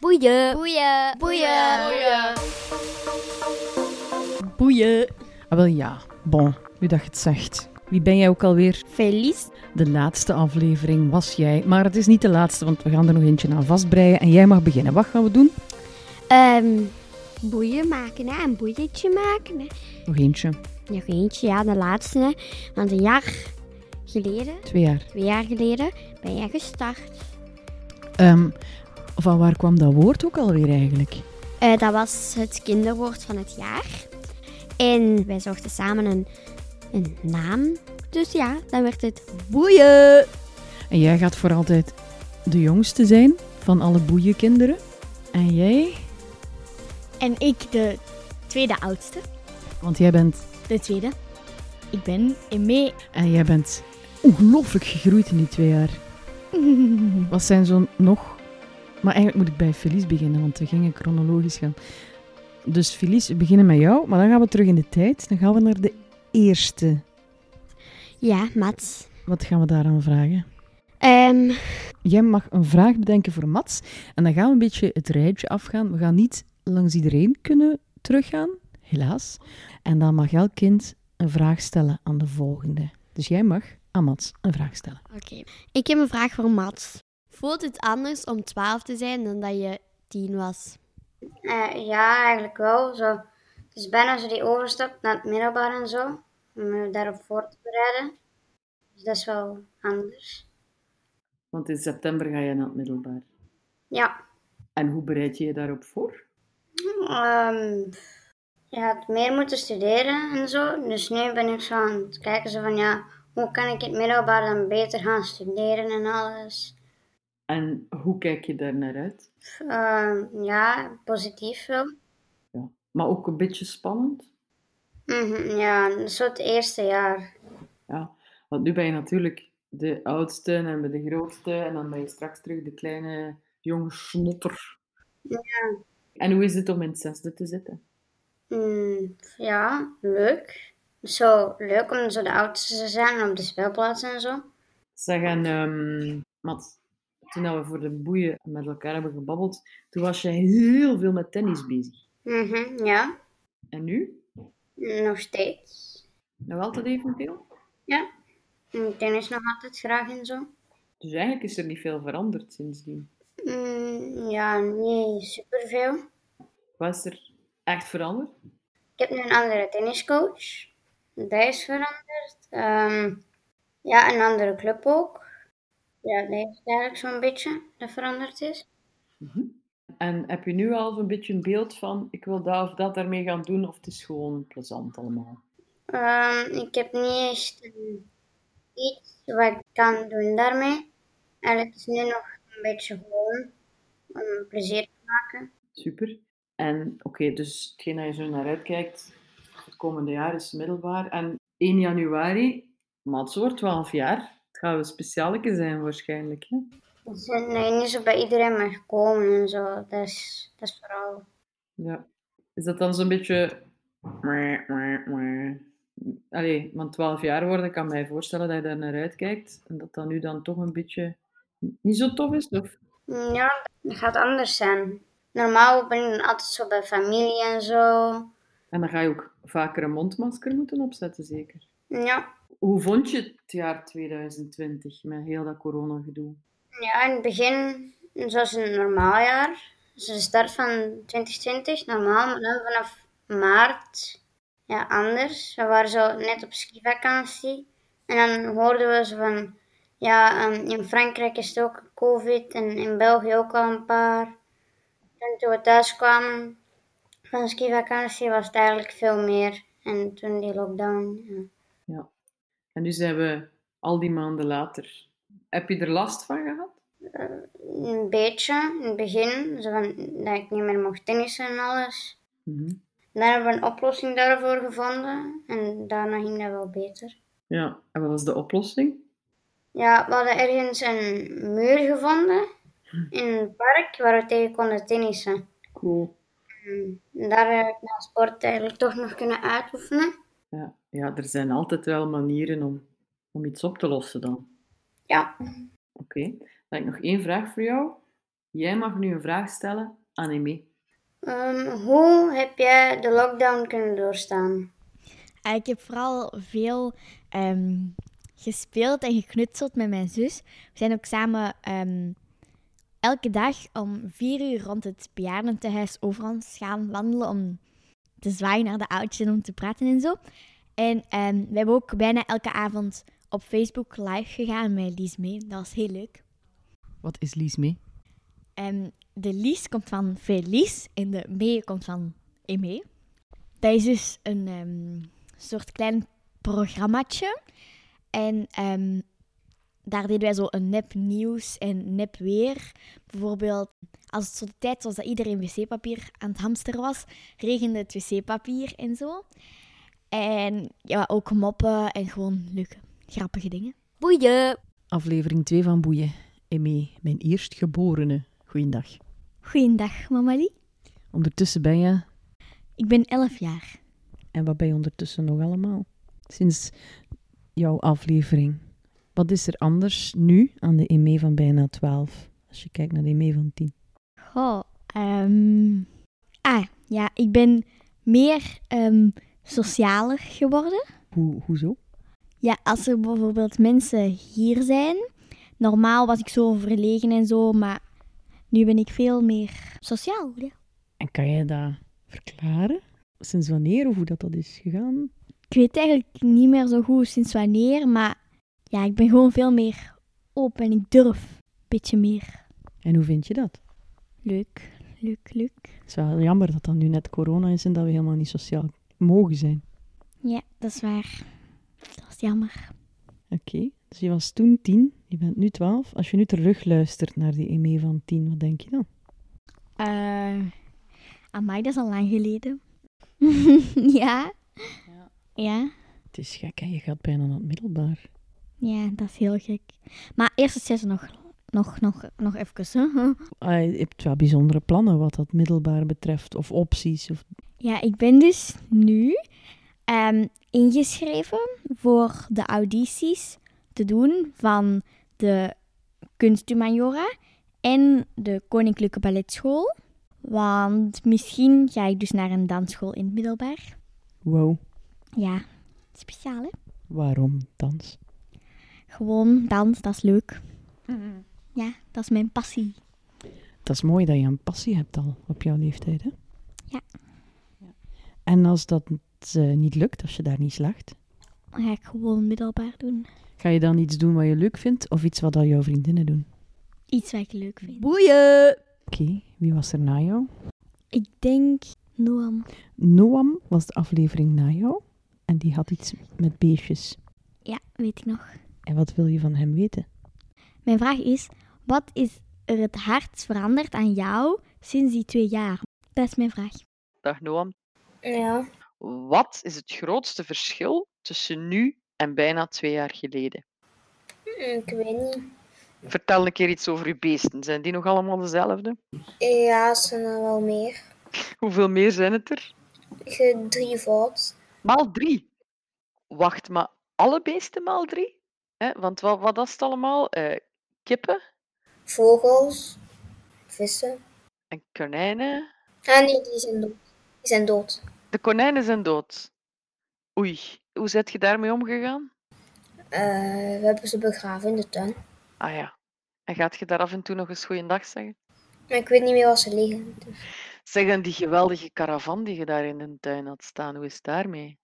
Boeien. Boeien. Boeien. Boeien. Ah, wel ja. Bon, nu dat je het zegt. Wie ben jij ook alweer? Feliz. De laatste aflevering was jij. Maar het is niet de laatste, want we gaan er nog eentje aan vastbreien. En jij mag beginnen. Wat gaan we doen? Ehm, boeien maken hè, een boeietje maken. Hè. Nog eentje. Nog eentje, ja, de laatste. Hè. Want een jaar geleden, Twee jaar. twee jaar geleden, ben jij gestart. Ehm, van waar kwam dat woord ook alweer eigenlijk? Eh, dat was het kinderwoord van het jaar. En wij zochten samen een, een naam. Dus ja, dan werd het Boeien. En jij gaat voor altijd de jongste zijn van alle boeienkinderen. En jij? En ik de tweede oudste. Want jij bent... De tweede. Ik ben Emé. En jij bent ongelooflijk gegroeid in die twee jaar. Wat zijn zo'n nog... Maar eigenlijk moet ik bij Felice beginnen, want we gingen chronologisch gaan. Dus Felice, we beginnen met jou, maar dan gaan we terug in de tijd. Dan gaan we naar de eerste. Ja, Mats. Wat gaan we daaraan vragen? Ehm, Jij mag een vraag bedenken voor Mats. En dan gaan we een beetje het rijtje afgaan. We gaan niet langs iedereen kunnen teruggaan, helaas. En dan mag elk kind een vraag stellen aan de volgende. Dus jij mag aan Mats een vraag stellen. ik heb een vraag voor Mats. Voelt het anders om 12 te zijn dan dat je 10 was? Eh, ja, eigenlijk wel. Zo. Het is bijna zo die overstap naar het middelbaar en zo. Om me daarop voor te bereiden. Dus dat is wel anders. Want in september ga je naar het middelbaar. Ja. En hoe bereid je je daarop voor? Ehm, je had meer moeten studeren en zo. Dus nu ben ik zo aan het kijken zo van ja, hoe kan ik in het middelbaar dan beter gaan studeren en alles. En hoe kijk je daar naar uit? Ehm, ja, positief wel. Ja. Maar ook een beetje spannend. Mhm, ja, dat is zo het eerste jaar. Ja. Want nu ben je natuurlijk de oudste en dan ben je de grootste. En dan ben je straks terug de kleine jonge snotter. Ja. En hoe is het om in het zesde te zitten? Mm, ja, leuk. Zo leuk om zo de oudste te zijn en op de speelplaats en zo. Zeg, en ehm Mats, toen dat we voor de boeien met elkaar hebben gebabbeld, toen was je heel veel met tennis bezig. Mhm, ja, En nu? nog steeds. Nog altijd evenveel? Ja, ik tennis nog altijd graag en zo. Dus eigenlijk is er niet veel veranderd sindsdien. Mm, ja, niet superveel. Wat is er echt veranderd? Ik heb nu een andere tenniscoach. Dat is veranderd. Ehm, ja, een andere club ook. Ja, dat is eigenlijk zo'n beetje dat veranderd is. En heb je nu al een beetje een beeld van, ik wil dat of dat daarmee gaan doen, of het is gewoon plezant allemaal? Ehm, ik heb niet echt een- iets wat ik kan doen daarmee. Eigenlijk is het nu nog een beetje gewoon om plezier te maken. Super. En oké, dus hetgeen dat je zo naar uitkijkt, het komende jaar is middelbaar. En 1 januari, Mats wordt 12 jaar. Het gaat een specialeke zijn waarschijnlijk. Hè? Dus eh, dat je niet zo bij iedereen mag komen en zo. Dat is, dat is vooral. Ja. Is dat dan zo'n beetje... mwah, mwah, mwah? Allee, want 12 jaar worden, ik kan mij voorstellen dat je daar naar uitkijkt. En dat dat nu dan toch een beetje niet zo tof is? Of Mm, Ja, dat gaat anders zijn. Normaal ben ik dan altijd zo bij familie en zo. En dan ga je ook vaker een mondmasker moeten opzetten, zeker. Ja, Hoe vond je het jaar 2020 met heel dat coronagedoe? ja in het begin, zoals een normaal jaar, dus de start van 2020, normaal, maar dan vanaf maart, ja, anders. We waren zo net op skivakantie en dan hoorden we zo van, ja, ehm, in Frankrijk is het ook COVID en in België ook al een paar. En toen we thuis kwamen van skivakantie was het eigenlijk veel meer. En toen die lockdown, ja. Ja. En nu zijn we al die maanden later. Heb je er last van gehad? Een beetje, in het begin, zo van, dat ik niet meer mocht tennissen en alles. Mhm. Daar hebben we een oplossing daarvoor gevonden en daarna ging dat wel beter. Ja. En wat was de oplossing? Ja, we hadden ergens een muur gevonden in een park waar we tegen konden tennissen. Cool. En daar heb ik mijn sport eigenlijk toch nog kunnen uitoefenen. Ja, ja er zijn altijd wel manieren om, om iets op te lossen dan. Ja. Oké. Dan heb ik nog één vraag voor jou. Jij mag nu een vraag stellen Annemie? Ehm, hoe heb jij de lockdown kunnen doorstaan? Eh, ik heb vooral veel ehm, gespeeld en geknutseld met mijn zus. We zijn ook samen ehm, elke dag om vier uur rond het bejaardentehuis over ons gaan wandelen om te zwaaien naar de oudjes en om te praten en zo. En ehm, we hebben ook bijna elke avond op Facebook live gegaan met Lies mee. Dat was heel leuk. Wat is Lies mee? Ehm, de Lies komt van Felice en de Mee komt van Eme. Dat is dus een ehm, soort klein programmaatje. En ehm, daar deden wij zo een nep nieuws en nep weer. Bijvoorbeeld, als het zo de tijd was dat iedereen wc-papier aan het hamsteren was, regende het wc-papier en zo. En ja, ook moppen en gewoon leuke, grappige dingen. Boeien. Aflevering 2 van Boeien. Emmy, mijn eerstgeborene. Goeiedag. Goeiedag, mama Lee. Ondertussen ben je... Ik ben 11 jaar. En wat ben je ondertussen nog allemaal? Sinds jouw aflevering. Wat is er anders nu aan de Emmy van bijna 12? Als je kijkt naar de Emmy van 10. Goh, Oh, ehm, ah, ja, ik ben meer ehm, socialer geworden. Hoe, hoezo? Ja, als er bijvoorbeeld mensen hier zijn. Normaal was ik zo verlegen en zo, maar nu ben ik veel meer sociaal. Ja. En kan jij dat verklaren? Sinds wanneer of hoe dat, dat is gegaan? Ik weet eigenlijk niet meer zo goed sinds wanneer, maar ja, ik ben gewoon veel meer open en ik durf een beetje meer. En hoe vind je dat? Leuk, leuk, leuk. Het is wel jammer dat dat nu net corona is en dat we helemaal niet sociaal mogen zijn. Ja, dat is waar. Dat is jammer. Oké, dus je was toen 10, je bent nu 12. Als je nu terug luistert naar die Emmy van 10, wat denk je dan? Eh, amai, dat is al lang geleden. ja. Ja. Ja, Het is gek, hè? je gaat bijna naar het middelbaar. ja, dat is heel gek. Maar eerst het zes nog, nog, nog, nog even. Hè? Ah, je hebt wel bijzondere plannen wat dat middelbaar betreft, of opties. Of... Ja, ik ben dus nu ehm, ingeschreven voor de audities te doen van de kunsthumaniora en de Koninklijke Balletschool. Want misschien ga ik dus naar een dansschool in het middelbaar. Wow, Ja, speciaal hè? waarom dans? Gewoon dans, dat is leuk. Mm-hmm. Ja, dat is mijn passie. Dat is mooi dat je een passie hebt al op jouw leeftijd, hè? Ja. En als dat eh, niet lukt, als je daar niet slaagt, Dan ga ik gewoon middelbaar doen. ga je dan iets doen wat je leuk vindt of iets wat al jouw vriendinnen doen? Iets wat ik leuk vind. Boeien. Oké, wie was er na jou? Ik denk Noam. Noam was de aflevering na jou en die had iets met beestjes. Ja, weet ik nog. En wat wil je van hem weten? Mijn vraag is, wat is er het hardst veranderd aan jou sinds die twee jaar? Dat is mijn vraag. Dag Noam. Ja. Wat is het grootste verschil tussen nu en bijna twee jaar geleden? Hmm, Ik weet niet. Vertel een keer iets over uw beesten. Zijn die nog allemaal dezelfde? Ja, ze zijn er wel meer. Hoeveel meer zijn het er? Je drievoud. Maal drie. Wacht, maar alle beesten maal drie? Hè, want wat, wat was het allemaal? Eh, kippen Vogels. Vissen. en konijnen. Ah nee, die zijn dood. Die zijn dood. De konijnen zijn dood. Oei, hoe zet je daarmee omgegaan? Eh, we hebben ze begraven in de tuin. Ah ja. En gaat je daar af en toe nog eens goeiedag zeggen? Maar ik weet niet meer waar ze liggen. Dus. Zeg, en die geweldige caravan die je daar in de tuin had staan, hoe is het daarmee?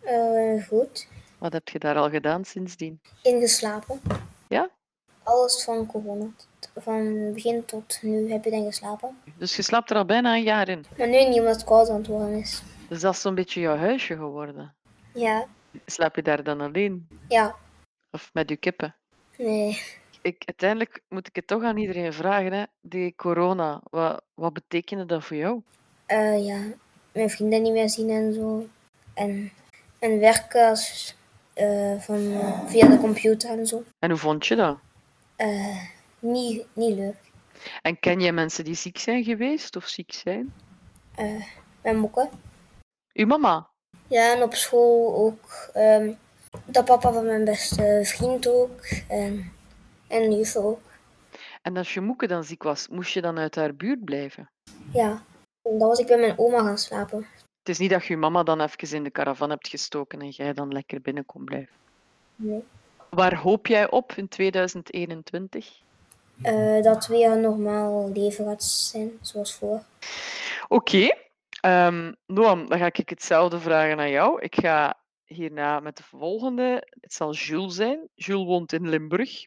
Eh, goed. Wat heb je daar al gedaan sindsdien? Ingeslapen. Ja? Alles van corona. Van begin tot nu heb je dan geslapen. Dus je slaapt er al bijna een jaar in. Maar nu niet omdat het koud aan het worden is. Dus dat is zo'n beetje jouw huisje geworden. Ja. Slaap je daar dan alleen? Ja. Of met je kippen? Nee. Ik, uiteindelijk moet ik het toch aan iedereen vragen. Hè? Die corona, wat, wat betekende dat voor jou? Eh, ja. Mijn vrienden niet meer zien en zo. En, en werken als, eh, van, eh, via de computer en zo. En hoe vond je dat? Eh, niet, niet leuk. En ken jij mensen die ziek zijn geweest of ziek zijn? Mijn mokken. Uw mama? Eh, Ja, en op school ook. ehm de papa van mijn beste vriend ook. En, en de juf ook. En als je moeke dan ziek was, moest je dan uit haar buurt blijven? Ja. En dan was ik bij mijn oma gaan slapen. Het is niet dat je je mama dan even in de caravan hebt gestoken en jij dan lekker binnen kon blijven. Nee. Waar hoop jij op in 2021? Eh, dat weer een normaal leven gaat zijn, zoals voor. Oké. Ehm, Noam, dan ga ik hetzelfde vragen aan jou. Ik ga hierna met de volgende. Het zal Jules zijn. Jules woont in Limburg.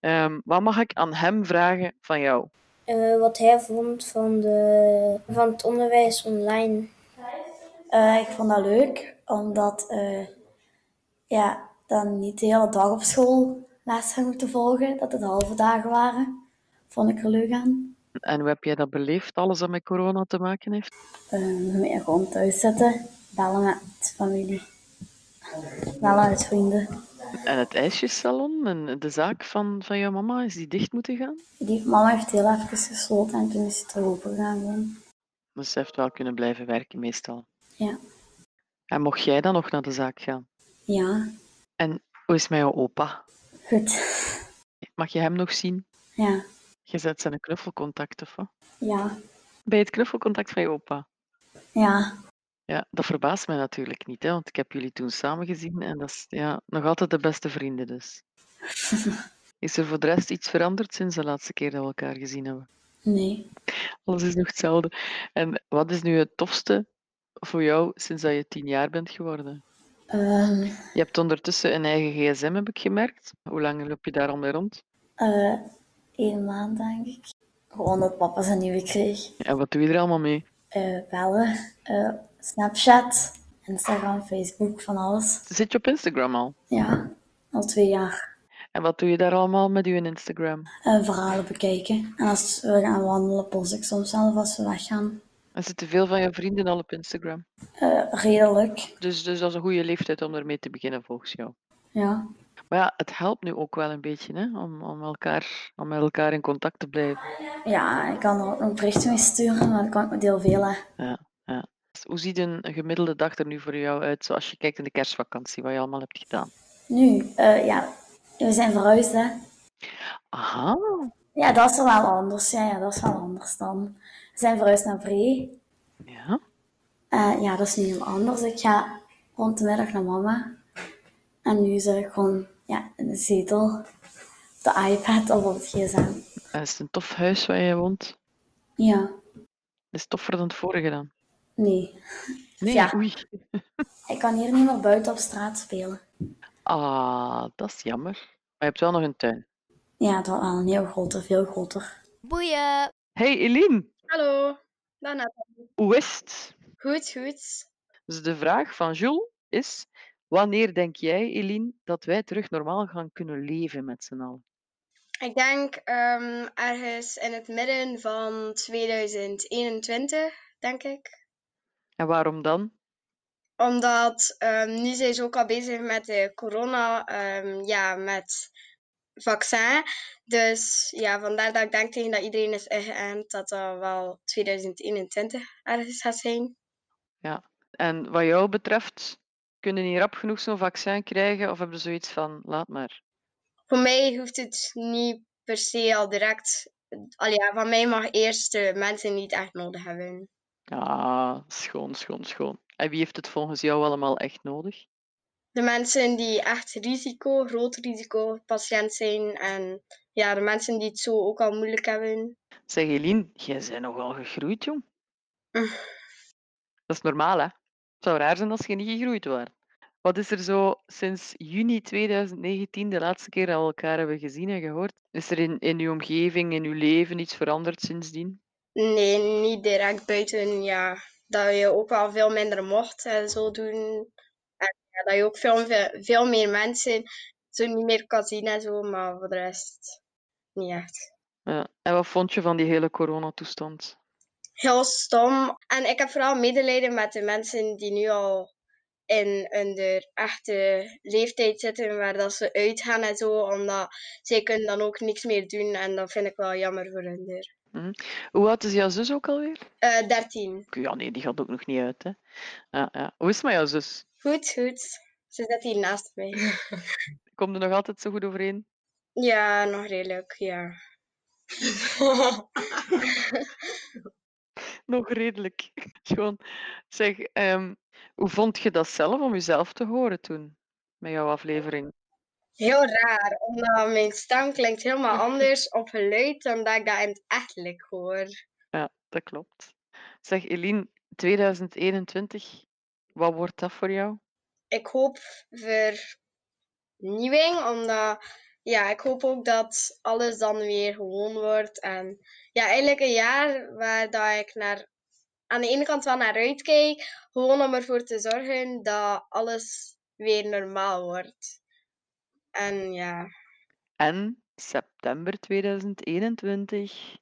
Ehm, wat mag ik aan hem vragen van jou? Eh, wat hij vond van, de, van het onderwijs online. Eh, ik vond dat leuk, omdat eh, ja, dan niet de hele dag op school les had moeten volgen, dat het halve dagen waren. Vond ik er leuk aan. En hoe heb jij dat beleefd, alles dat met corona te maken heeft? Eh, meer gewoon thuis zitten, bellen met familie, bellen met vrienden. En het ijsjessalon en de zaak van, van jouw mama, is die dicht moeten gaan? Die mama heeft heel even gesloten en toen is het erop gegaan. gewoon. Maar ze heeft wel kunnen blijven werken meestal. Ja. En mocht jij dan nog naar de zaak gaan? Ja, En hoe is het met jouw opa? goed. Mag je hem nog zien? Ja, Je zet zijn knuffelcontact, of wat? ja, Bij het knuffelcontact van je opa. ja. Ja, dat verbaast mij natuurlijk niet, hè, want ik heb jullie toen samen gezien en dat is ja, nog altijd de beste vrienden dus. Is er voor de rest iets veranderd sinds de laatste keer dat we elkaar gezien hebben? Nee. Alles is nog hetzelfde. En wat is nu het tofste voor jou sinds dat je tien jaar bent geworden? Ehm, Je hebt ondertussen een eigen gsm, heb ik gemerkt. Hoe lang loop je daar al mee rond? eh, één maand denk ik. Gewoon dat papa zijn nieuwe kreeg. En wat doe je er allemaal mee? eh bellen, eh, Snapchat, Instagram, Facebook, van alles. Zit je op Instagram al? Ja, al twee jaar. En wat doe je daar allemaal met je Instagram? Eh, verhalen bekijken. En als we gaan wandelen, post ik soms zelf als we weggaan. En zitten veel van je vrienden al op Instagram? Eh, redelijk, Dus, dus dat is een goede leeftijd om ermee te beginnen volgens jou. ja. Maar ja, het helpt nu ook wel een beetje hè? Om, om, elkaar, om met elkaar in contact te blijven. Ja, ik kan er ook nog berichten mee sturen, maar dat kan ik met heel veel. Hè. Ja, ja. Dus Hoe ziet een een gemiddelde dag er nu voor jou uit, zoals je kijkt in de kerstvakantie, wat je allemaal hebt gedaan? Nu, eh, ja, we zijn verhuisd, hè. Aha, Ja, dat is wel anders. Ja, ja, dat is wel anders dan. We zijn verhuisd naar Bree. Ja. Eh, ja, dat is nu heel anders. Ik ga rond de middag naar mama. En nu zit ik gewoon ja, in de zetel, op de iPad of op het gsm. en is het een tof huis waar je woont? Ja, Is het toffer dan het vorige dan? nee. Nee, ja. oei. Ik kan hier niet meer buiten op straat spelen. Ah, dat is jammer. Maar je hebt wel nog een tuin. Ja, dat wel een heel groter, veel groter. Boeien. Hey Eline, Hallo. Nou, Dag Nathalie. hoe is het? Goed, goed. Dus de vraag van Jules is, wanneer denk jij Eline dat wij terug normaal gaan kunnen leven met z'n allen? Ik denk ehm, ergens in het midden van 2021, denk ik. En waarom dan? Omdat ehm, nu zijn ze ook al bezig met de corona, ehm, ja, met vaccin. Dus ja, vandaar dat ik denk tegen dat iedereen is ingeënt dat dat wel 2021 ergens gaat zijn. Ja. En wat jou betreft, kunnen niet rap genoeg zo'n vaccin krijgen of hebben zoiets van, laat maar. Voor mij hoeft het niet per se al direct. Al ja, van mij mag eerst de mensen niet echt nodig hebben. Ah, schoon, schoon, schoon. En wie heeft het volgens jou allemaal echt nodig? de mensen die echt risico, groot risico patiënt zijn. En ja, de mensen die het zo ook al moeilijk hebben. Zeg Eline, jij bent nogal gegroeid, jong. Dat is normaal, hè? Het zou raar zijn als je niet gegroeid was. Wat is er zo sinds juni 2019, de laatste keer dat we elkaar hebben gezien en gehoord? Is er in, in uw omgeving, in uw leven iets veranderd sindsdien? Nee, niet direct buiten. Ja, dat je ook wel veel minder mocht en zo doen. En ja, dat je ook veel, veel, veel meer mensen zo niet meer kan zien en zo. Maar voor de rest niet echt. Ja. En wat vond je van die hele coronatoestand? heel stom. En ik heb vooral medelijden met de mensen die nu al in hun de echte leeftijd zitten, waar dat ze uitgaan en zo, omdat zij kunnen dan ook niks meer doen en dat vind ik wel jammer voor hun er. Hm? Hoe oud is jouw zus ook alweer? Eh 13. Ja, nee, die gaat ook nog niet uit, hè? Ja, ja. Hoe is het met jouw zus? Goed, goed. Ze zit hier naast mij. Komt er nog altijd zo goed overeen? ja, nog redelijk, ja. nog redelijk. Gewoon, zeg, ehm, hoe vond je dat zelf om jezelf te horen toen met jouw aflevering? Heel raar, omdat mijn stem klinkt helemaal anders op geluid dan dat ik dat in het echtelijk hoor. Ja, dat klopt. Zeg, Eline, 2021, wat wordt dat voor jou? Ik hoop vernieuwing, omdat ja, ik hoop ook dat alles dan weer gewoon wordt. En ja, eigenlijk een jaar waar dat ik naar, aan de ene kant wel naar uitkijk, gewoon om ervoor te zorgen dat alles weer normaal wordt. En ja, En september 2021.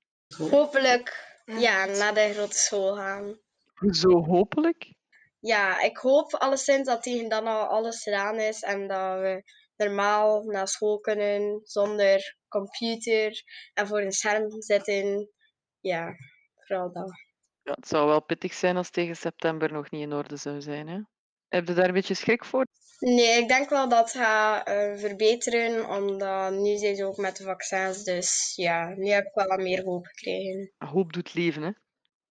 hopelijk ja, naar de grote school gaan. Zo hopelijk. Ja, ik hoop alleszins dat tegen dan al alles gedaan is en dat we normaal naar school kunnen zonder computer en voor een scherm zitten. Ja, vooral dat. Ja, het zou wel pittig zijn als tegen september nog niet in orde zou zijn. Hè? Heb je daar een beetje schrik voor? Nee, ik denk wel dat het gaat eh, verbeteren, omdat nu zijn ze ook met de vaccins. Dus ja, nu heb ik wel wat meer hoop gekregen. Ah, Hoop doet leven, hè?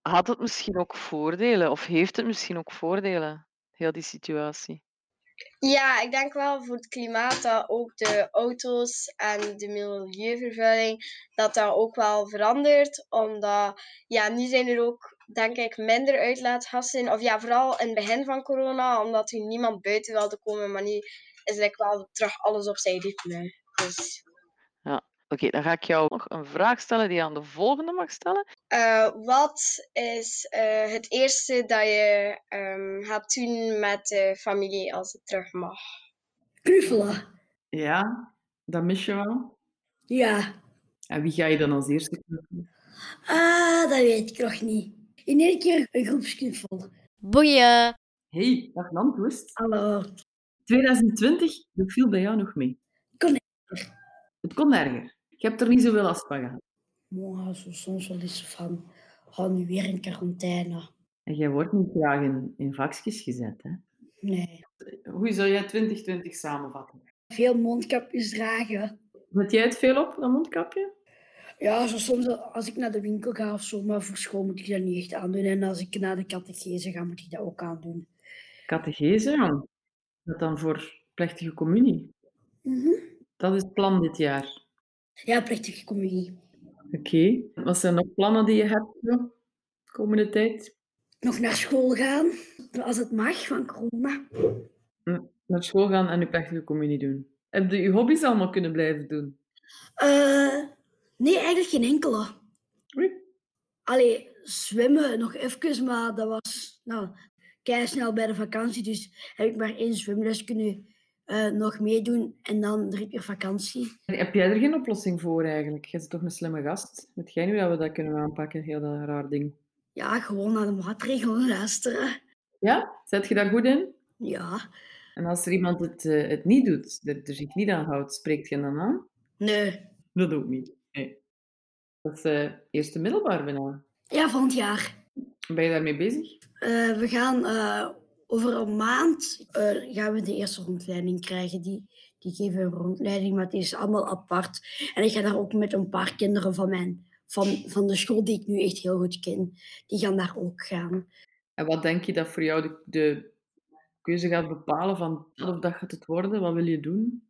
Had het misschien ook voordelen? Of heeft het misschien ook voordelen? Heel die situatie. Ja, ik denk wel voor het klimaat dat ook de auto's en de milieuvervuiling, dat dat ook wel verandert. Omdat, ja, nu zijn er ook, denk ik, minder uitlaatgassen. Of ja, vooral in het begin van corona, omdat er niemand buiten wilde komen. Maar nu is like wel terug alles op zijn ritme. Dus, Ja. Oké, dan ga ik jou nog een vraag stellen die je aan de volgende mag stellen. eh, wat is eh, het eerste dat je ehm, gaat doen met de familie als het terug mag? Kruvelen. Ja, dat mis je wel. Ja, En wie ga je dan als eerste knuffelen? ah, dat weet ik nog niet. In één keer een groepsknuffel. Boeien! Hey, dag Landwoest. Hallo. 2020, hoe viel bij jou nog mee? Kon erger. Het kon erger. Je hebt er niet zoveel last van gehad. Maar zo soms wel eens van, oh, nu weer in quarantaine. En jij wordt niet graag in, in vakjes gezet, hè? Nee. Hoe zou jij 2020 samenvatten? Veel mondkapjes dragen. Zet jij het veel op, dat mondkapje? Ja, zo soms als ik naar de winkel ga of zo, maar voor school moet ik dat niet echt aandoen. En als ik naar de catechese ga, moet ik dat ook aandoen. Catechese, ja. Dat dan voor plechtige communie. Mhm. Dat is het plan dit jaar. Ja, plechtige communie. Oké. Wat zijn nog plannen die je hebt zo, de komende tijd? Nog naar school gaan, als het mag, van corona. Hm, Naar school gaan en je plechtige communie doen. Heb je je hobby's allemaal kunnen blijven doen? Eh, nee, eigenlijk geen enkele. Allee, zwemmen nog even, maar dat was nou, snel bij de vakantie. Dus heb ik maar één zwemles kunnen eh, nog meedoen en dan drie keer vakantie. Heb jij er geen oplossing voor eigenlijk? Jij bent toch een slimme gast? Weet jij nu dat we dat kunnen aanpakken? Heel dat raar ding. Ja, gewoon naar de maatregelen luisteren. Ja? Zet je daar goed in? Ja, En als er iemand het, eh, het niet doet, er, er zich niet aan houdt, spreekt je dan aan? nee. Dat ook niet. Nee. Dat is eh, eerste middelbaar bijna. Ja, van het jaar. Ben je daarmee bezig? Eh, we gaan eh, over een maand eh, gaan we de eerste rondleiding krijgen. Die, die geven een rondleiding, maar het is allemaal apart. En ik ga daar ook met een paar kinderen van, mijn, van, van de school die ik nu echt heel goed ken. Die gaan daar ook gaan. En wat denk je dat voor jou de, de keuze gaat bepalen van dat of dat gaat het worden? Wat wil je doen?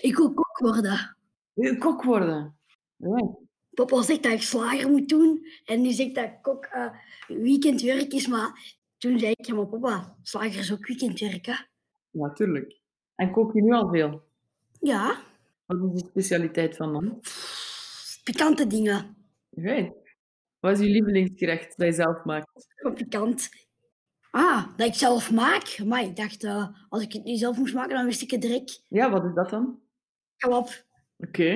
Ik wil kok worden. Wil je kok worden? Ja. Papa zegt dat ik slager moet doen. En die zegt dat kok eh, weekendwerk is. Maar toen zei ik, ja maar papa, slager is ook weekendwerk hè. Natuurlijk. En kook je nu al veel? Ja, Wat is de specialiteit van dan? pikante dingen. Right. Wat is je lievelingsgerecht dat je zelf maakt? Wat pikant. Ah, dat ik zelf maak. Maar ik dacht, eh, als ik het nu zelf moest maken, dan wist ik het direct. Ja, wat is dat dan? Kebab. Oké.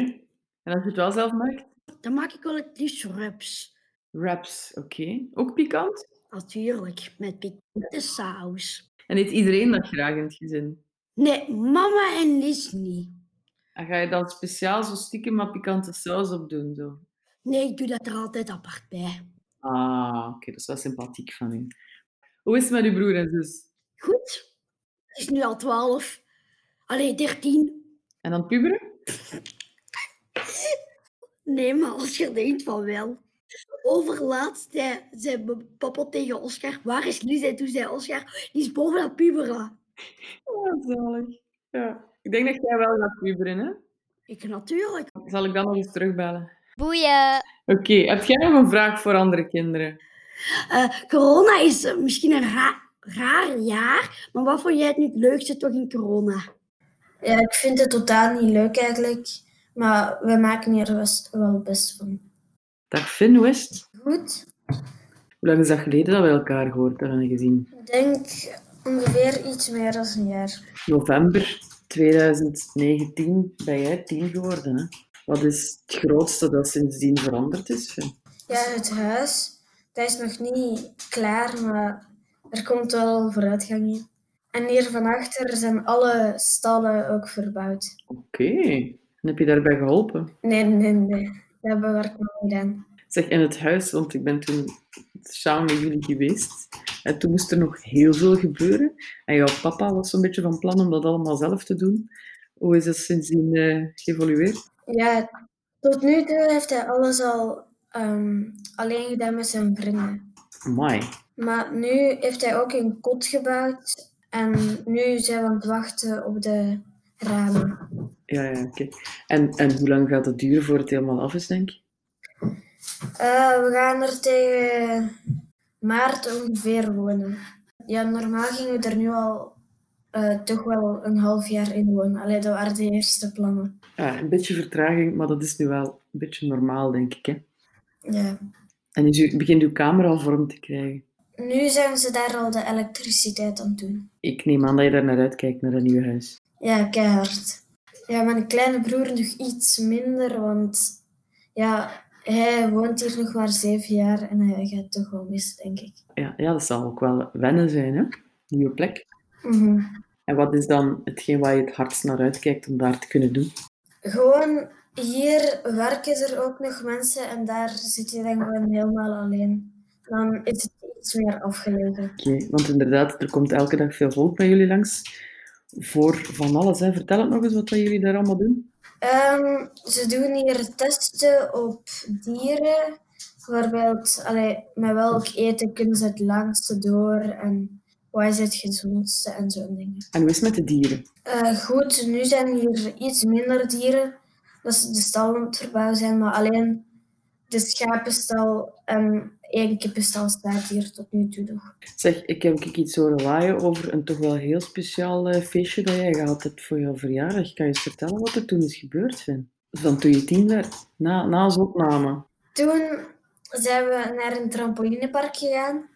En als je het wel zelf maakt? Dan maak ik wel het liefst wraps. Wraps, oké. Ook pikant? Natuurlijk, met pikante saus. En eet iedereen dat graag in het gezin? Nee, mama en Liz niet. En ga je dan speciaal zo stiekem maar pikante saus op doen? Zo? Nee, ik doe dat er altijd apart bij. Ah, oké, dat is wel sympathiek van u. Hoe is het met uw broer en zus? Goed. Het is nu al twaalf. Allee, dertien. En aan het puberen? Nee, maar als je denkt van wel. Overlaatst zei, zei mijn papa tegen Oscar, waar is Lies? En toen zei Oscar, die is boven dat puberen. Ja, zalig. Ja. Ik denk dat jij wel gaat puberen, hè? Ik natuurlijk. Zal ik dan nog eens terugbellen? Boeien. Oké, heb jij nog een vraag voor andere kinderen? Eh, corona is eh, misschien een ra- raar jaar, maar wat vond jij het nu het leukste toch in corona? Ja, ik vind het totaal niet leuk eigenlijk. Maar we maken er best, wel best van. Dag Finn, hoe is het? Goed. Hoe lang is dat geleden dat we elkaar gehoord hebben en gezien? Ik denk ongeveer iets meer dan een jaar. November 2019 ben jij tien geworden, hè? Wat is het grootste dat sindsdien veranderd is, Finn? Ja, het huis, dat is nog niet klaar, maar er komt wel vooruitgang in. En hier van achter zijn alle stallen ook verbouwd. Oké, en heb je daarbij geholpen? Nee, nee, nee. Dat hebben we werk nog niet gedaan. Zeg, in het huis, want ik ben toen samen met jullie geweest. En toen moest er nog heel veel gebeuren. En jouw papa was zo'n beetje van plan om dat allemaal zelf te doen. Hoe is dat sindsdien eh, geëvolueerd? Ja, tot nu toe heeft hij alles al ehm, alleen gedaan met zijn vrienden. Mooi. Maar nu heeft hij ook een kot gebouwd en nu zijn we aan het wachten op de ramen. Ja, ja, oké. En, en hoe lang gaat het duren voor het helemaal af is, denk je? Eh, we gaan er tegen maart ongeveer wonen. Ja, normaal gingen we er nu al eh, toch wel een half jaar in wonen. Allee, dat waren de eerste plannen. Ja, een beetje vertraging, maar dat is nu wel een beetje normaal, denk ik. Hè? Ja. En is u, begint uw kamer al vorm te krijgen? Nu zijn ze daar al de elektriciteit aan het doen. Ik neem aan dat je daar naar uitkijkt, naar een nieuw huis. Ja, keihard. Ja, mijn kleine broer nog iets minder, want ja, hij woont hier nog maar zeven jaar en hij gaat toch wel mis, denk ik. Ja, ja, dat zal ook wel wennen zijn, hè? Nieuwe plek. Mhm. En wat is dan hetgeen waar je het hardst naar uitkijkt om daar te kunnen doen? Gewoon, hier werken er ook nog mensen en daar zit je dan gewoon helemaal alleen. Dan is het iets meer afgelegen. Oké, want inderdaad, er komt elke dag veel volk bij jullie langs voor van alles. Hè. Vertel het nog eens wat dat jullie daar allemaal doen. Ehm, ze doen hier testen op dieren. Bijvoorbeeld, allee, met welk eten kunnen ze het langste door en wat is het gezondste en zo'n dingen. En hoe is het met de dieren? Eh, goed, nu zijn hier iets minder dieren. Dat ze de stal aan het verbouwen zijn, maar alleen de schapenstal en één kippenstal staat hier tot nu toe nog. Zeg, ik heb ook iets horen waaien over een toch wel heel speciaal eh, feestje dat jij gehad hebt voor jouw verjaardag. Kan je eens vertellen wat er toen is gebeurd, Finn? Van toen je tien werd, na, na onze opname. Toen zijn we naar een trampolinepark gegaan.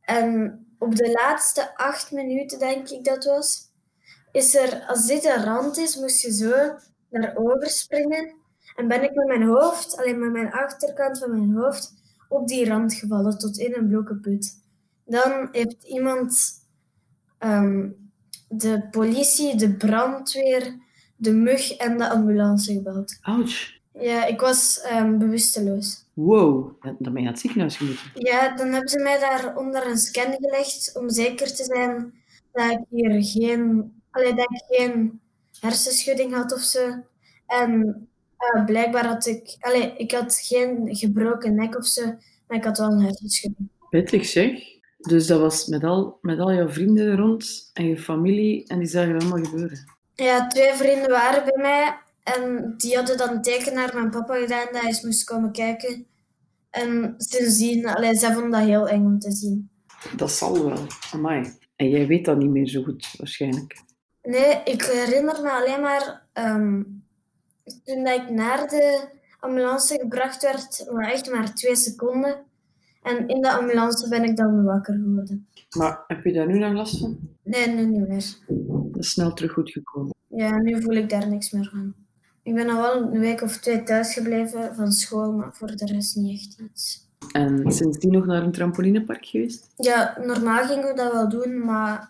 En op de laatste acht minuten, denk ik dat was, is er, als dit een rand is, moest je zo naar over springen. En ben ik met mijn hoofd, alleen met mijn achterkant van mijn hoofd, op die rand gevallen tot in een blokkenput. Dan heeft iemand ehm, de politie, de brandweer, de mug en de ambulance gebeld. Ouch. Ja, ik was ehm, bewusteloos. Wow, dan ben je naar het ziekenhuis gemoeten. Ja, dan hebben ze mij daar onder een scan gelegd om zeker te zijn dat ik hier geen, allee, dat ik geen hersenschudding had of zo. En eh, blijkbaar had ik, allee, ik had geen gebroken nek of zo, maar ik had wel een hersenschudding. Pittig zeg. Dus dat was met al, met al jouw vrienden er rond en je familie en die zagen dat allemaal gebeuren. Ja, twee vrienden waren bij mij en die hadden dan een teken naar mijn papa gedaan dat hij eens moest komen kijken. En sindsdien, allee, zij vonden dat heel eng om te zien. Dat zal wel. Amai. En jij weet dat niet meer zo goed, waarschijnlijk. Nee, ik herinner me alleen maar ehm, toen dat ik naar de ambulance gebracht werd, maar echt maar twee seconden. En in de ambulance ben ik dan wakker geworden. Maar heb je daar nu nog last van? Nee, nu niet meer. Dat is snel terug goed gekomen. Ja, nu voel ik daar niks meer van. Ik ben al wel een week of twee thuis gebleven van school, maar voor de rest niet echt iets. En sindsdien nog naar een trampolinepark geweest? Ja, normaal gingen we dat wel doen, maar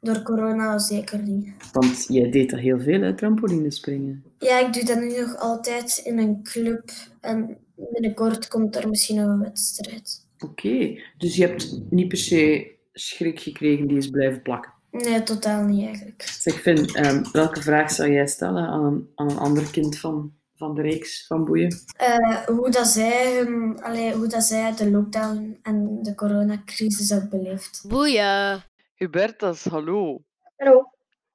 door corona zeker niet. Want jij deed dat heel veel, hè, trampolinespringen. Ja, ik doe dat nu nog altijd in een club. En binnenkort komt er misschien nog een wedstrijd. Oké, dus je hebt niet per se schrik gekregen die is blijven plakken. Nee, totaal niet eigenlijk. Zeg Finn, ehm, welke vraag zou jij stellen aan, een- aan een ander kind van van de reeks van boeien. Eh, hoe, dat zij hun, allee, hoe dat zij de lockdown en de coronacrisis ook beleeft. Boeien. Hubertus, hallo. Hallo.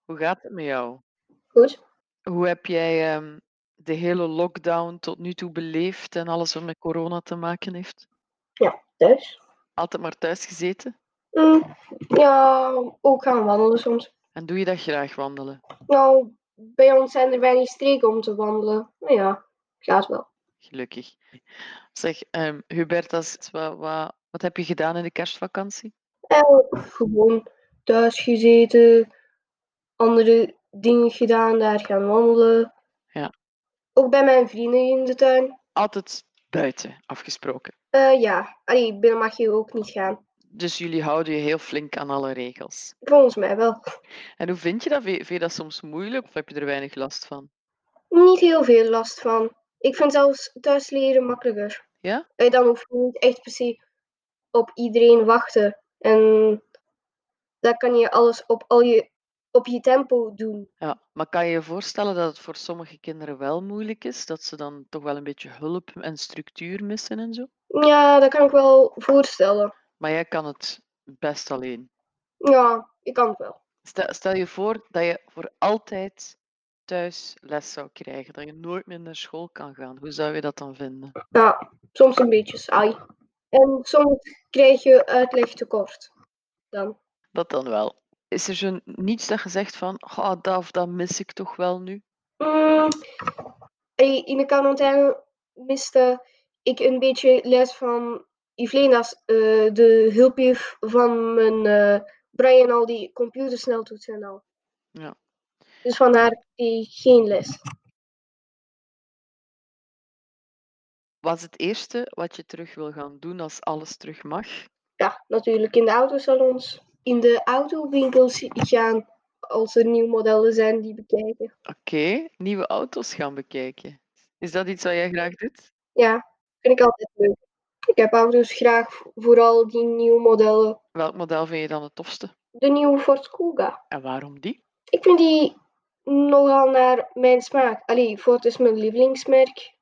Hoe gaat het met jou? Goed. Hoe heb jij ehm, de hele lockdown tot nu toe beleefd en alles wat met corona te maken heeft? Ja, thuis. Altijd maar thuis gezeten? Mm, ja, ook gaan wandelen soms. En doe je dat graag wandelen? Nou, bij ons zijn er weinig streken om te wandelen. Maar ja, gaat wel. Gelukkig. Zeg, ehm Hubertus, wat, wat, wat heb je gedaan in de kerstvakantie? En Eh, gewoon thuis gezeten, andere dingen gedaan, daar gaan wandelen. Ja. Ook bij mijn vrienden in de tuin. Altijd buiten afgesproken. Eh, ja, Allee, binnen mag je ook niet gaan. Dus jullie houden je heel flink aan alle regels. Volgens mij wel. En hoe vind je dat? Vind je- vind je dat soms moeilijk of heb je er weinig last van? Niet heel veel last van. Ik vind zelfs thuis leren makkelijker. Ja? Eh, Dan hoef je niet echt per se op iedereen wachten. En dan kan je alles op, al je, op je tempo doen. Ja, maar kan je je voorstellen dat het voor sommige kinderen wel moeilijk is? Dat ze dan toch wel een beetje hulp en structuur missen en zo? Ja, dat kan ik wel voorstellen. Maar jij kan het best alleen. Ja, ik kan het wel. Stel, stel je voor dat je voor altijd thuis les zou krijgen, dat je nooit meer naar school kan gaan. Hoe zou je dat dan vinden? Ja, soms een beetje saai. En soms krijg je uitleg tekort. Dan. Dat dan wel. Is er zo niets dat je zegt van, oh, dat of dat mis ik toch wel nu? Mm, eh, in de quarantaine miste ik een beetje les van Ivlena's, eh de hulpjuf van mijn eh Brian al die computersneltoetsen en al. Ja. Dus vandaar die geen les. Wat is het eerste wat je terug wil gaan doen als alles terug mag? Ja, natuurlijk in de autosalons. In de autowinkels gaan als er nieuwe modellen zijn die bekijken. Oké, nieuwe auto's gaan bekijken. Is dat iets wat jij graag doet? Ja, vind ik altijd leuk. Ik heb auto's graag, vooral die nieuwe modellen. Welk model vind je dan het tofste? De nieuwe Ford Kuga. En waarom die? Ik vind die nogal naar mijn smaak. Allee, Ford is mijn lievelingsmerk.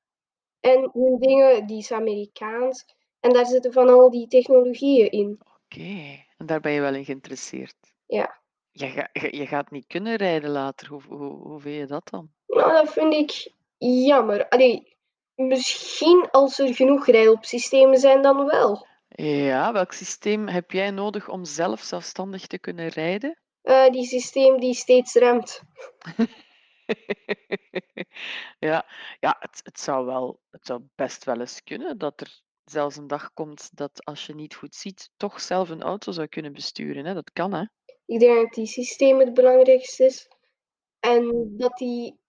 En hun dingen, die is Amerikaans. En daar zitten van al die technologieën in. Oké, en daar ben je wel in geïnteresseerd. Ja, Je, ga- je- je gaat niet kunnen rijden later. Hoe, hoe, hoe vind je dat dan? nou, dat vind ik jammer. Allee, misschien als er genoeg rijopsystemen zijn, dan wel. Ja, welk systeem heb jij nodig om zelf zelfstandig te kunnen rijden? Eh, die systeem die steeds remt. ja, ja het, het, zou wel, het zou best wel eens kunnen dat er zelfs een dag komt dat als je niet goed ziet, toch zelf een auto zou kunnen besturen. Hè? Dat kan, hè? Ik denk dat die systeem het belangrijkste is. En dat die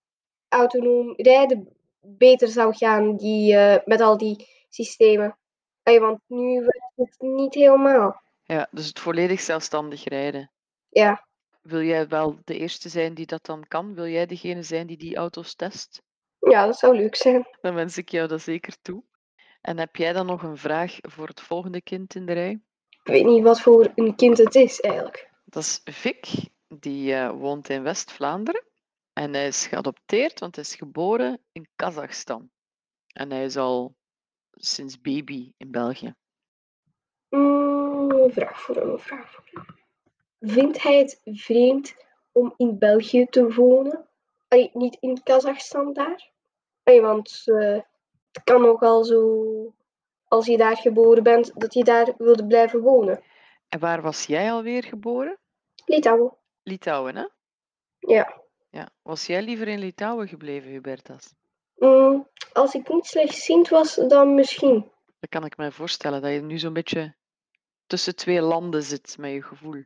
autonoom rijden beter zou gaan die, eh, met al die systemen. Hey, want nu werkt het niet helemaal. Ja, dus het volledig zelfstandig rijden. Ja, Wil jij wel de eerste zijn die dat dan kan? Wil jij degene zijn die die auto's test? ja, dat zou leuk zijn. Dan wens ik jou dat zeker toe. En heb jij dan nog een vraag voor het volgende kind in de rij? Ik weet niet wat voor een kind het is eigenlijk. Dat is Vic, die eh, woont in West-Vlaanderen. En hij is geadopteerd, want hij is geboren in Kazachstan. En hij is al sinds baby in België. Mm, een vraag voor hem, een vraag voor hem. Vindt hij het vreemd om in België te wonen? Allee, niet in Kazachstan daar? Allee, want eh, het kan ook al zo, als je daar geboren bent, dat je daar wilde blijven wonen. En waar was jij alweer geboren? Litouwen, Litouwen, hè? ja. Ja. Was jij liever in Litouwen gebleven, Hubertas? Mm, als ik niet slechtziend was, dan misschien. Dat kan ik mij voorstellen, dat je nu zo'n beetje tussen twee landen zit met je gevoel.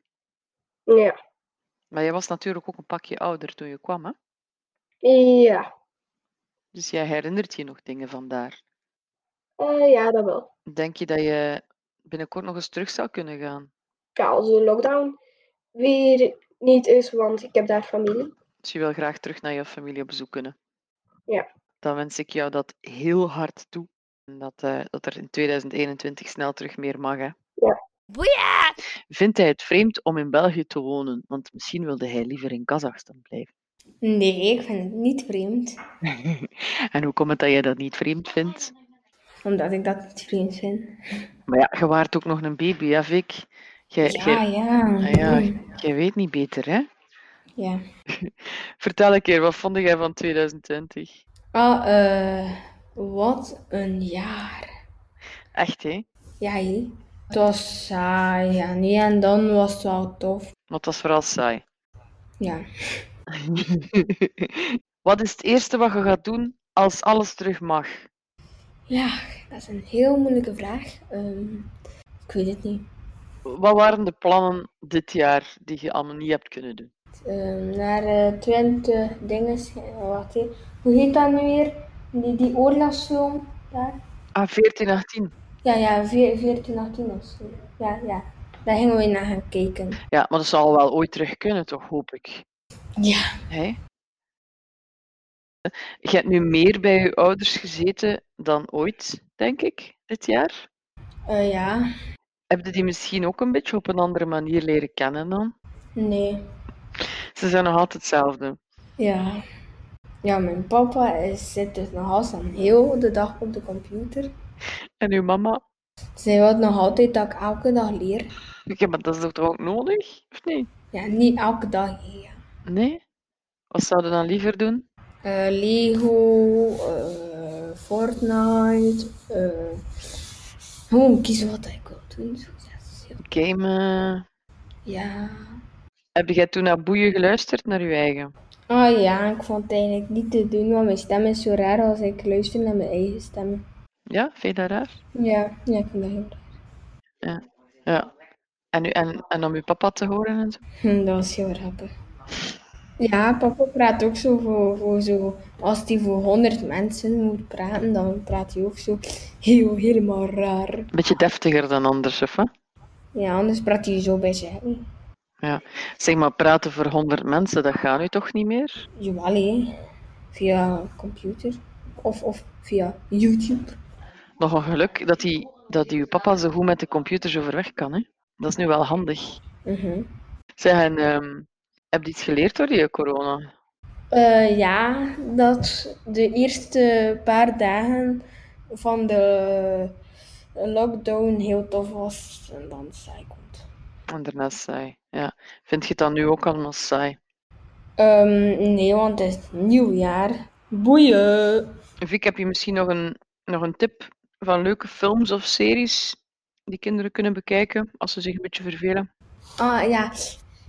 Ja, Maar jij was natuurlijk ook een pakje ouder toen je kwam, hè? ja. Dus jij herinnert je nog dingen van daar. Eh, ja, dat wel. Denk je dat je binnenkort nog eens terug zou kunnen gaan? Ja, als de lockdown weer niet is, want ik heb daar familie. Dus je wil graag terug naar je familie op bezoek kunnen. Ja, Dan wens ik jou dat heel hard toe. En dat, eh, dat er in 2021 snel terug meer mag. Hè. ja. Vindt hij het vreemd om in België te wonen? Want misschien wilde hij liever in Kazachstan blijven. Nee, ik vind het niet vreemd. En hoe komt het dat jij dat niet vreemd vindt? Omdat ik dat niet vreemd vind. Maar ja, je waart ook nog een baby, hè, Vic? Jij, Ja, jij- ja. Ah ja, Mm. jij weet niet beter, hè? Ja. Vertel een keer, wat vond jij van 2020? Ah, eh, wat een jaar. Echt, hè? Ja, hé. Het was saai, ja, nee, en dan was het wel tof. Want dat is vooral saai. Ja. Wat is het eerste wat je gaat doen als alles terug mag? Ja, dat is een heel moeilijke vraag. Ehm, ik weet het niet. Wat waren de plannen dit jaar die je allemaal niet hebt kunnen doen? Ehm, naar eh, 20 dingen. Wacht, hé. Hoe heet dat nu weer? Die, die oorlogsfilm daar? Ah, 14, 18. Ja, ja, veer- 14, 18 of zo. Ja, ja. Daar gingen we naar gaan kijken. Ja, maar dat zal wel ooit terug kunnen, toch, hoop ik. Ja. Hè? Je hebt nu meer bij je ouders gezeten dan ooit, denk ik, dit jaar. Eh, ja, Heb je die misschien ook een beetje op een andere manier leren kennen dan? nee. Ze zijn nog altijd hetzelfde. Ja. Ja, mijn papa is, zit dus nog altijd een heel de dag op de computer. En uw mama? Zij wil nog altijd dat ik elke dag leer. Ja, maar dat is toch ook nodig, of niet? Ja, niet elke dag. hè, Ja. Nee? Wat zouden dan liever doen? Eh, Lego, eh, Fortnite. eh, gewoon kiezen wat ik wil doen. zo. Gamen. Ja. Heb jij toen naar boeien geluisterd, naar je eigen? Ah ja, ik vond het eigenlijk niet te doen, want mijn stem is zo raar als ik luister naar mijn eigen stem. Ja, vind je dat raar? Ja, ja, ik vind dat heel raar. Ja. ja. En, u, en, en om uw papa te horen en zo? Hm, Dat was heel grappig. Ja, papa praat ook zo voor, voor zo. Als hij voor 100 mensen moet praten, dan praat hij ook zo heel, helemaal raar. Beetje deftiger dan anders, of wat? Ja, anders praat hij zo bij zijn. Ja. Zeg maar, praten voor 100 mensen, dat gaat nu toch niet meer? Jawel, hè. Via computer of, of via YouTube. Nog een geluk dat, die, dat die uw papa zo goed met de computers overweg kan, hè? Dat is nu wel handig. Mhm. Zeg, en, ehm, heb je iets geleerd door die corona? Eh, ja, dat de eerste paar dagen van de lockdown heel tof was en dan saai komt. En daarna saai. Ja. Vind je het dan nu ook allemaal saai? Ehm, nee, want het is nieuwjaar. Boeien! Vic, heb je misschien nog een, nog een tip van leuke films of series die kinderen kunnen bekijken als ze zich een beetje vervelen? Ah ja,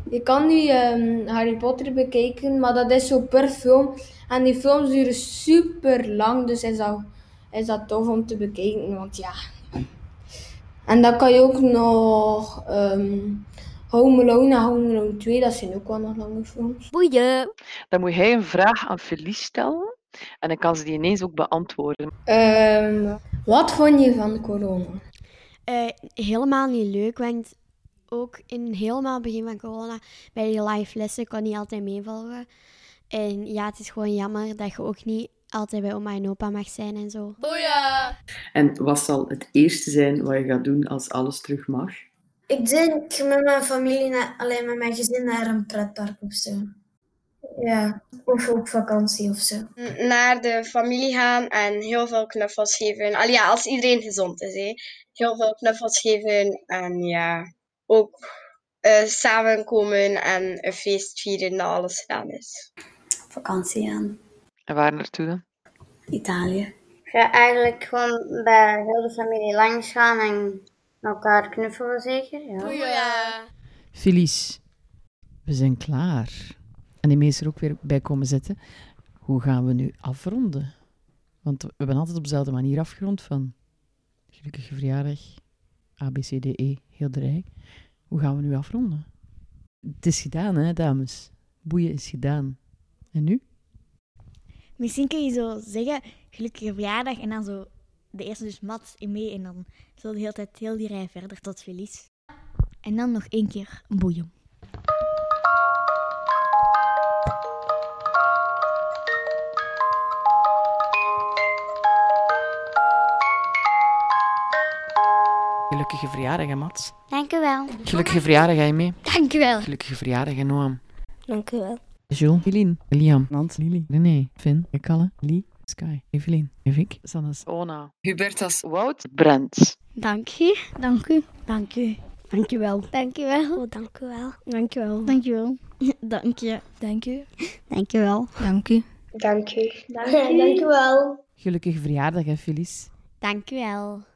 je kan nu ehm, Harry Potter bekijken, maar dat is zo per film. En die films duren super lang, dus is dat, is dat tof om te bekijken, want ja. En dan kan je ook nog ehm Home Alone en Home Alone 2, dat zijn ook wel nog lange films. Boeien! Dan moet hij een vraag aan Felice stellen en dan kan ze die ineens ook beantwoorden. Ehm, wat vond je van corona? Eh, helemaal niet leuk, want ook in helemaal het begin van corona, bij die live lessen, kon niet altijd meevallen. En ja, het is gewoon jammer dat je ook niet altijd bij oma en opa mag zijn en zo. Boeien! En wat zal het eerste zijn wat je gaat doen als alles terug mag? Ik denk met mijn familie, naar, alleen met mijn gezin naar een pretpark of zo. Ja, of op vakantie of zo. naar de familie gaan en heel veel knuffels geven. Al ja, als iedereen gezond is, hè. Heel veel knuffels geven en ja, ook eh, samenkomen en een feest vieren dat alles gedaan is. Vakantie aan En waar naartoe dan? Italië. Ja, eigenlijk gewoon bij heel de familie langs gaan en elkaar knuffelen zeker. Ja. Felice, we zijn klaar. En die meester ook weer bij komen zitten. Hoe gaan we nu afronden? Want we hebben altijd op dezelfde manier afgerond van... Gelukkige verjaardag, ABCDE, E, heel de rij. Hoe gaan we nu afronden? Het is gedaan, hè, dames. Boeien is gedaan. En nu? Misschien kun je zo zeggen, gelukkige verjaardag. En dan zo de eerste dus Mats in mee. En dan zo de hele tijd heel die rij verder tot verlies. En dan nog één keer boeien. Gelukkige verjaardag, hè, Mats. Dank u wel. verjaardag, jij mee? Dank u wel. Gelukkige verjaardag, hè, Noam. Dank u wel. Jules. Eline. Liam. Nant. Lili. René. Finn. Kalle. Lee. Sky. Evelien. Evik. Sannes. Ona. Hubertas. Wout. Brent. Dank je. Dank u. Dank u. Dank je wel. Dank u wel. Oh, dank u wel. Dank u wel. Dank u wel. Dank je. Dank u. Dank u wel. Dank u. Dank u. Dank u wel. Gelukkig verjaardag, hè, Felice. Dank u wel.